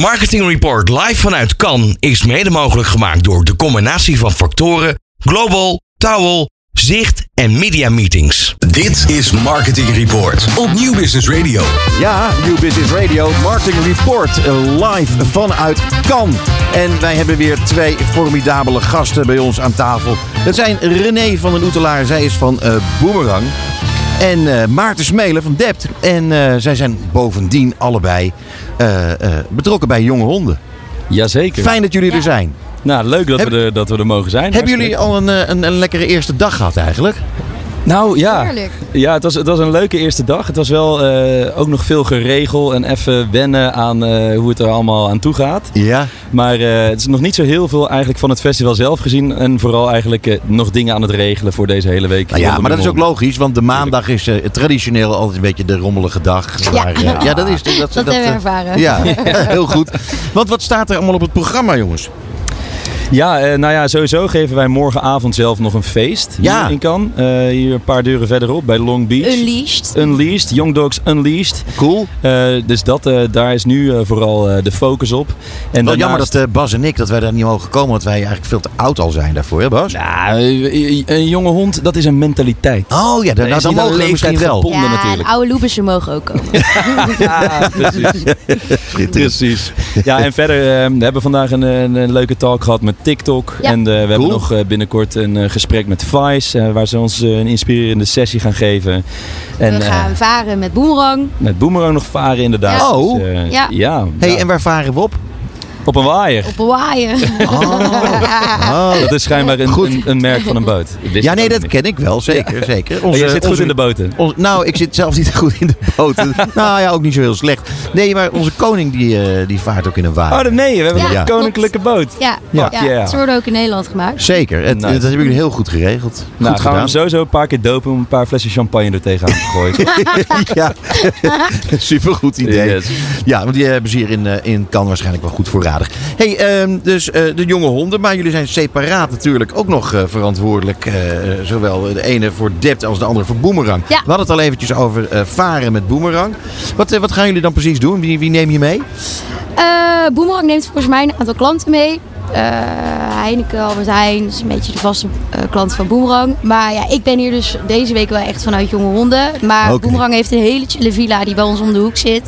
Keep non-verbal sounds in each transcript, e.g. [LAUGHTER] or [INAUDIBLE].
Marketing Report live vanuit Cannes is mede mogelijk gemaakt door de combinatie van factoren Global, Towel, Zicht en Media Meetings. Dit is Marketing Report op Nieuw Business Radio. Ja, New Business Radio, Marketing Report, eh, live vanuit Cannes. En wij hebben weer twee formidabele gasten bij ons aan tafel. Dat zijn René van den Oetelaar, zij is van eh Boomerang. En eh, Maarten Smelen van Dept. En eh, zij zijn bovendien allebei eh, eh, betrokken bij jonge honden. Jazeker. Fijn dat jullie er Ja. zijn. Nou, leuk dat, Heb- we er, dat we er mogen zijn. Hebben jullie al een, eh, een, een lekkere eerste dag gehad eigenlijk? Nou ja, Heerlijk. ja het, was, het was een leuke eerste dag. Het was wel eh, ook nog veel geregel en even wennen aan eh, hoe het er allemaal aan toe gaat. Ja. Maar eh, het is nog niet zo heel veel eigenlijk van het festival zelf gezien. En vooral eigenlijk eh, nog dingen aan het regelen voor deze hele week. Nou ja, rondom maar dat de is ook mond. logisch, want de maandag is eh, traditioneel altijd een beetje de rommelige dag. Ja. waar, eh, ja dat is dat, Dat hebben we eh, ervaren. [LAUGHS] Ja, heel goed. Want wat staat er allemaal op het programma, jongens? Ja, eh, nou ja, sowieso geven wij morgenavond zelf nog een feest. Ja. Hier in Cannes. Eh, hier een paar deuren verderop bij Long Beach. Unleashed. Unleashed, Young Dogs Unleashed. Cool. Eh, dus dat, eh, daar is nu eh, vooral eh, de focus op. En Wel daarnaast- jammer dat eh, Bas en ik dat wij daar niet mogen komen, want wij eigenlijk veel te oud al zijn daarvoor, hè Bas? Nou, eh, eh, een jonge hond, dat is een mentaliteit. Oh ja, dan, Nee, nou, is dan niet aan mogen we leeftijd misschien wel. gebonden. Ja, Honden en natuurlijk. oude loebersen mogen ook komen. Ja, precies. precies. Ja, en verder, eh, we hebben vandaag een, een, een leuke talk gehad met TikTok. Ja. En eh, we hebben Cool. nog eh, binnenkort een eh, gesprek met Vice, eh, waar ze ons eh, een inspirerende sessie gaan geven. En we eh, gaan varen met Boemerang. met Boomerang nog varen inderdaad. Ja. Oh. eh, Ja. ja. hey, Ja. en waar varen we op? Op een waaier. Op [LAUGHS] Hawaii. Oh, [LAUGHS] Oh. Dat is schijnbaar een, Goed. een, een merk van een boot. Ik wist Ja, het nee, ook dat niet. ken ik wel, zeker. zeker. Maar Onze- Jij zit goed onze- in de boten. ons- nou, ik zit zelf niet [LAUGHS] goed in de [LAUGHS] boten. nou ja, ook niet zo heel slecht. Nee, maar onze koning die, eh, die vaart ook in een wagen. Oh nee, we hebben Ja, een klopt. koninklijke boot. Ja, Ja. ja. Ja. ze worden ook in Nederland gemaakt. Zeker, het, Nice. dat hebben jullie heel goed geregeld. Goed nou, gaan we hem gedaan. sowieso een paar keer dopen om een paar flessen champagne er tegenaan te gooien. [LAUGHS] [LAUGHS] Ja, supergoed idee. Yes. Ja, want die hebben ze hier in, eh, in Cannes waarschijnlijk wel goed voorradig. hey, ehm, dus eh, de jonge honden. Maar jullie zijn separaat natuurlijk ook nog eh, verantwoordelijk. eh, zowel de ene voor Dept als de andere voor Boomerang. Ja. We hadden het al eventjes over eh, varen met Boomerang. Wat, eh, wat gaan jullie dan precies doen? Wie, wie neem je mee? Eh Boemerang neemt volgens mij een aantal klanten mee. Eh, Heineken, Albert Heijn, dat is een beetje de vaste eh, klant van Boemerang. Maar ja, ik ben hier dus deze week wel echt vanuit jonge honden. Maar Oké. Boemerang heeft een hele chille villa die bij ons om de hoek zit.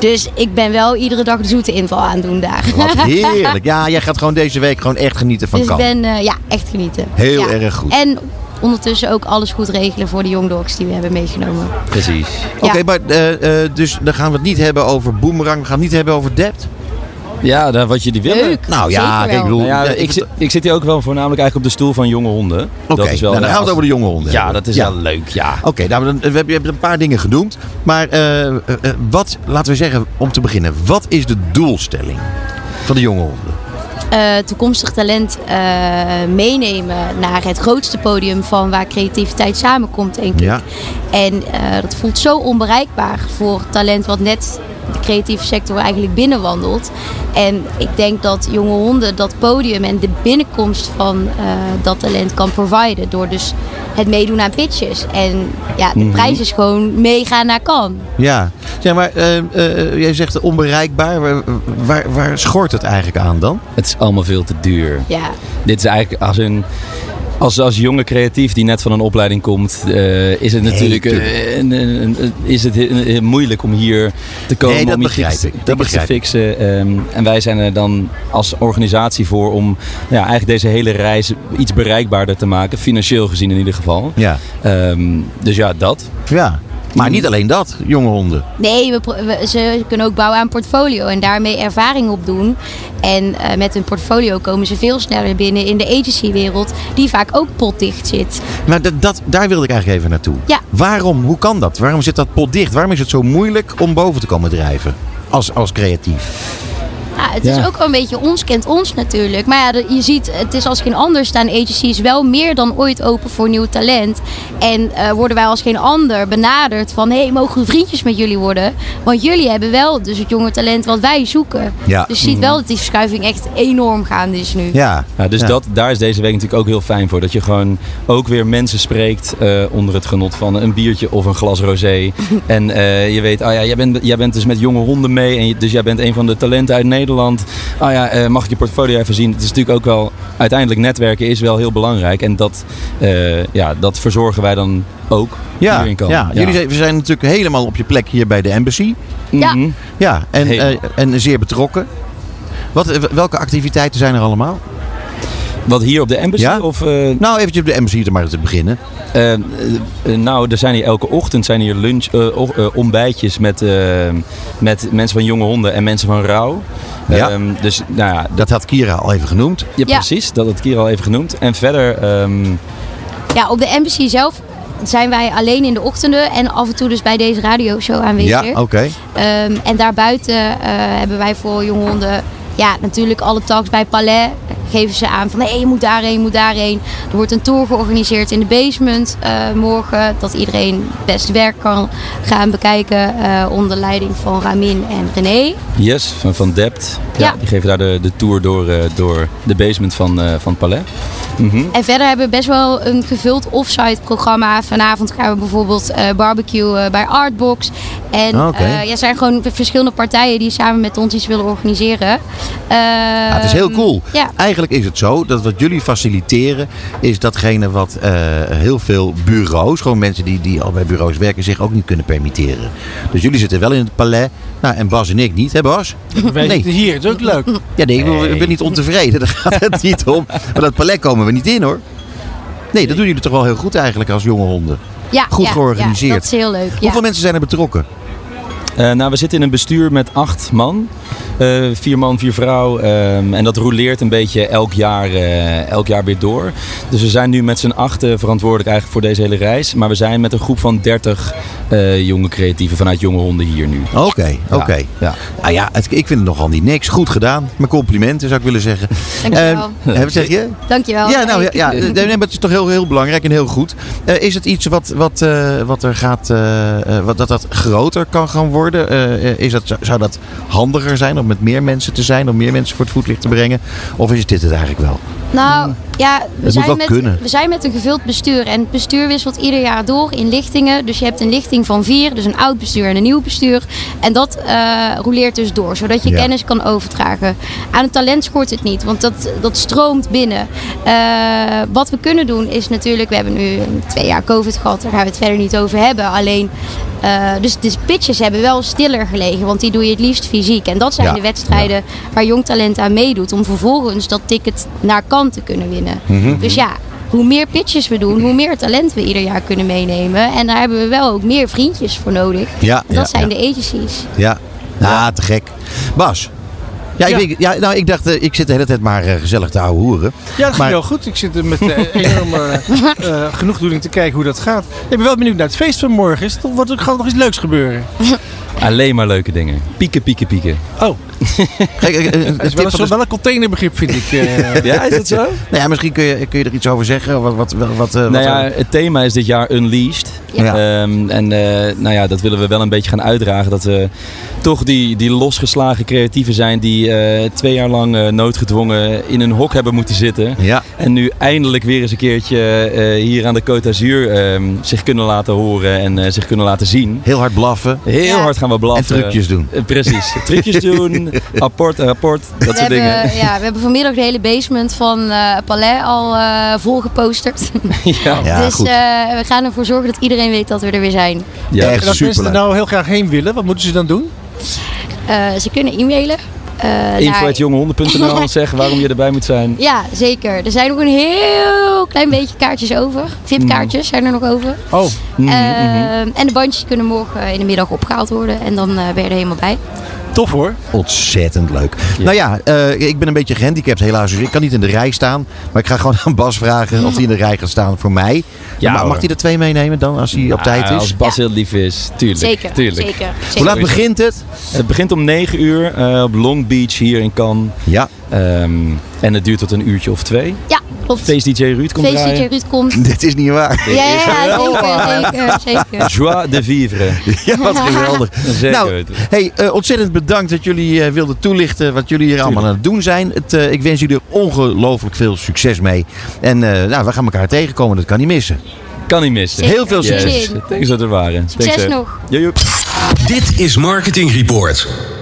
Dus ik ben wel iedere dag de zoete inval aan het doen daar. Wat [LAUGHS] heerlijk. Ja, jij gaat gewoon deze week gewoon echt genieten van Dus ik Cannes. ben eh, ja, echt genieten. Heel Ja. erg goed. En ondertussen ook alles goed regelen voor de jongdogs die we hebben meegenomen. Precies. Oké, maar eh, eh, dus dan gaan we het niet hebben over Boomerang. We gaan het niet hebben over Dept. Ja, dan wat jullie willen. Leuk. Nou ja, Zeker kijk, ik wel. bedoel... Nou ja, eh, ik, zit, ik zit hier ook wel voornamelijk eigenlijk op de stoel van jonge honden. Oké, dat is wel, nou, dan ja, gaan we het als- over de jonge honden Ja, hebben. dat is wel leuk, ja. Oké, nou, dan, we hebben, je hebt een paar dingen genoemd. Maar eh, eh, eh, wat, laten we zeggen, om te beginnen. Wat is de doelstelling van de jonge honden? eh, toekomstig talent eh, meenemen naar het grootste podium van waar creativiteit samenkomt, denk ik. Ja. En eh, dat voelt zo onbereikbaar voor talent wat net de creatieve sector eigenlijk binnenwandelt. En ik denk dat jonge honden dat podium en de binnenkomst van eh, dat talent kan providen. Door dus het meedoen aan pitches. En ja, de prijs is gewoon meegaan naar kan. Ja, zeg maar, eh, eh, jij zegt onbereikbaar. Waar, waar, waar schort het eigenlijk aan dan? Het is allemaal veel te duur. Ja. Dit is eigenlijk als een. Als, als jonge creatief die net van een opleiding komt, eh, is het natuurlijk eh, tuurlijk. een- een- een- is het heel, heel moeilijk om hier te komen Nee, dat om je begrijp tickets- ik. Dat tickets te begrijp ik. fixen. ehm, en wij zijn er dan als organisatie voor om nou ja, eigenlijk deze hele reis iets bereikbaarder te maken, financieel gezien in ieder geval. Ja. Ehm, dus ja, dat. ja. Maar niet alleen dat, jonge honden. Nee, we, pro- we- ze kunnen ook bouwen aan portfolio en daarmee ervaring opdoen. En eh, met hun portfolio komen ze veel sneller binnen in de agencywereld, die vaak ook potdicht zit. Maar dat, dat, daar wilde ik eigenlijk even naartoe. Ja. Waarom? Hoe kan dat? Waarom zit dat pot dicht? Waarom is het zo moeilijk om boven te komen drijven? Als, als creatief. Ja, Nou, het Ja. is ook wel een beetje ons kent ons natuurlijk. Maar ja, de- je ziet, het is als geen ander staan agencies wel meer dan ooit open voor nieuw talent. En eh, worden wij als geen ander benaderd van, hé, hey, mogen we vriendjes met jullie worden? Want jullie hebben wel dus het jonge talent wat wij zoeken. Ja. Mhm. Dus je ziet wel dat die verschuiving echt enorm gaande is nu. Ja. Ja, dus Ja. Dat, daar is deze week natuurlijk ook heel fijn voor. Dat je gewoon ook weer mensen spreekt eh, onder het genot van een biertje of een glas [LAUGHS] rosé. en eh, je weet, ah ja, jij bent, jij bent dus met jonge honden mee. En je- dus jij bent een van de talenten uit Nederland. Ah oh ja, uh, mag ik je portfolio even zien? Het is natuurlijk ook wel, uiteindelijk netwerken is wel heel belangrijk. En dat, uh, ja, dat verzorgen wij dan ook ja, ja, ja, jullie zijn, we zijn natuurlijk helemaal op je plek hier bij de embassy. Ja. Ja, en, uh, en zeer betrokken. Wat, eh, welke activiteiten zijn er allemaal? Wat hier op de embassy? Ja? Of, eh, uh... Nou, eventjes op de embassy maar te beginnen. Uh, uh, nou, er zijn hier elke ochtend zijn hier lunch, eh, ontbijtjes met, eh, met mensen van jonge honden en mensen van rouw. Ehm, Ja. dus, nou ja, dat, dat had Kira al even genoemd. Ja, ja, precies. Dat had Kira al even genoemd. En verder... Um... Ja, op de embassy zelf zijn wij alleen in de ochtenden en af en toe dus bij deze radioshow aanwezig. Ja, oké. Okay. Um, en daarbuiten hebben wij voor jonge honden ja, natuurlijk alle talks bij Palais geven ze aan van hé, hey, je moet daarheen, je moet daarheen. Er wordt een tour georganiseerd in de basement uh, morgen, dat iedereen best werk kan gaan bekijken uh, onder leiding van Ramin en René. Yes, van, van Dept. Ja, ja. Die geven daar de, de tour door, uh, door de basement van, eh, van Palais. Mm-hmm. En verder hebben we best wel een gevuld offsite programma. Vanavond gaan we bijvoorbeeld eh, barbecue bij Artbox. En Ah, oh, okay. ja, er zijn gewoon verschillende partijen die samen met ons iets willen organiseren. Ehm, Ja, Ah, het is heel cool. Ja. Eigenlijk is het zo dat wat jullie faciliteren is datgene wat uh, heel veel bureaus, gewoon mensen die, die al bij bureaus werken, zich ook niet kunnen permitteren. Dus jullie zitten wel in het palais. Nou, en Bas en ik niet, hè Bas? Wij nee. zitten hier, het is ook leuk. Ja, nee, nee, ik ben niet ontevreden, [LAUGHS] daar gaat het niet om. Maar dat palais komen we niet in hoor. Nee, dat doen jullie toch wel heel goed eigenlijk als jonge honden. Ja, goed ja, georganiseerd. Ja, dat is heel leuk. Hoeveel mensen zijn er betrokken? Uh, nou, we zitten in een bestuur met acht man. Uh, vier man, vier vrouw. Um, en dat roleert een beetje elk jaar, uh, elk jaar weer door. Dus we zijn nu met z'n achten verantwoordelijk eigenlijk voor deze hele reis. Maar we zijn met een groep van dertig eh, jonge creatieven vanuit Jonge Honden hier nu. Oké, okay, oké. Okay. Ja, ja. Ah, ja het, ik vind het nogal niet niks. Goed gedaan. Mijn complimenten zou ik willen zeggen. Dankjewel. wel. zeg je? Dankjewel. Ehm, Ja, nou, ja, ja, nee, maar het is toch heel, heel belangrijk en heel goed. Eh, is het iets wat, wat, eh, wat er gaat, eh, wat, dat dat groter kan gaan worden? Uh, is dat, zou dat handiger zijn om met meer mensen te zijn, om meer mensen voor het voetlicht te brengen? Of is dit het eigenlijk wel? Nou, ja, we, dat zijn met, kunnen. we zijn met een gevuld bestuur. En het bestuur wisselt ieder jaar door in lichtingen. Dus je hebt een lichting van vier, dus een oud bestuur en een nieuw bestuur. En dat uh, roleert dus door, zodat je ja. kennis kan overdragen. Aan het talent schort het niet, want dat, dat stroomt binnen. Uh, wat we kunnen doen is natuurlijk, we hebben nu twee jaar COVID gehad, daar gaan we het verder niet over hebben. Alleen uh, dus de pitches hebben wel stiller gelegen, want die doe je het liefst fysiek. En dat zijn ja, de wedstrijden ja. waar jong talent aan meedoet, om vervolgens dat ticket naar kant te kunnen winnen. Mm-hmm. Dus ja, hoe meer pitches we doen, hoe meer talent we ieder jaar kunnen meenemen. En daar hebben we wel ook meer vriendjes voor nodig. Ja, en dat zijn de agencies. Ja, nou, te gek. Bas, ja, ja. Ik, weet, ja, nou, ik dacht, uh, ik zit de hele tijd maar uh, gezellig te ouwe hoeren. Ja, dat ging wel goed. Ik zit er met uh, enorme [LAUGHS] genoegdoening eh, te kijken hoe dat gaat. Ik ben wel benieuwd naar het feest van morgen. Is, dan wordt er gewoon nog iets leuks gebeuren. Alleen maar leuke dingen. Pieken, pieken, pieken. Oh. Kijk, eh, het is wel een, soort, wel een containerbegrip, vind ik. eh. [LAUGHS] ja, is dat zo? Nou [LAUGHS] ja, misschien kun je, kun je er iets over zeggen. Wat, wat, wat, nou wat ja, het thema is dit jaar Unleashed. Ja. Um, en nou ja, dat willen we wel een beetje gaan uitdragen. Dat we toch die, die losgeslagen creatieven zijn die uh, twee jaar lang uh, noodgedwongen in een hok hebben moeten zitten. Ja. En nu eindelijk weer eens een keertje uh, hier aan de Côte d'Azur ehm, zich kunnen laten horen en eh, zich kunnen laten zien. Heel hard blaffen. Heel ja. hard gaan we blaffen. Eh, En trucjes doen. precies. Trucjes doen, rapport, rapport, dat we soort hebben, dingen. [LAUGHS] Ja, we hebben vanmiddag de hele basement van eh, Palais al eh, [LAUGHS] volgeposterd. ja. ja. [LAUGHS] dus we gaan ervoor zorgen dat iedereen weet dat we er weer zijn. Ja, echt en als mensen er nou heel graag heen willen, wat moeten ze dan doen? Uh, ze kunnen e-mailen. Eh, Uh, Info.jongehonden.nl naar... zeggen waarom je erbij moet zijn. Ja, zeker. Er zijn ook een heel klein beetje kaartjes over. VIP-kaartjes zijn er nog over. Oh. Mm-hmm. Uh, en de bandjes kunnen morgen in de middag opgehaald worden. En dan eh, ben je er helemaal bij. Tof hoor. Ontzettend leuk. Ja. Nou ja, uh, ik ben een beetje gehandicapt helaas. Dus ik kan niet in de rij staan. Maar ik ga gewoon aan Bas vragen of hij in de rij gaat staan voor mij. Ja, Nou, mag, mag hij er twee meenemen dan als hij ja, op tijd is? Als Bas heel lief is. Tuurlijk. Zeker. Tuurlijk. zeker, zeker. Hoe laat begint het? Het begint om 9 uur uh, op Long Beach hier in Cannes. Ja. [LAUGHS] Um, en het duurt tot een uurtje of twee. Ja, klopt. Feest DJ Ruud komt Feest DJ Ruud komt. Dit is niet waar. Ja, ja, zeker, zeker, zeker. Joie de vivre. [LAUGHS] Ja, wat geweldig. Zeker. Nou, hey, uh, ontzettend bedankt dat jullie uh, wilden toelichten wat jullie hier Tuurlijk. allemaal aan het doen zijn. Het, uh, ik wens jullie ongelooflijk veel succes mee. En nou, we gaan elkaar tegenkomen, dat kan niet missen. [LAUGHS] Kan niet missen. Heel veel succes. Yes. Thanks dat er waren. Succes nog. Joep. Dit is Marketing Report.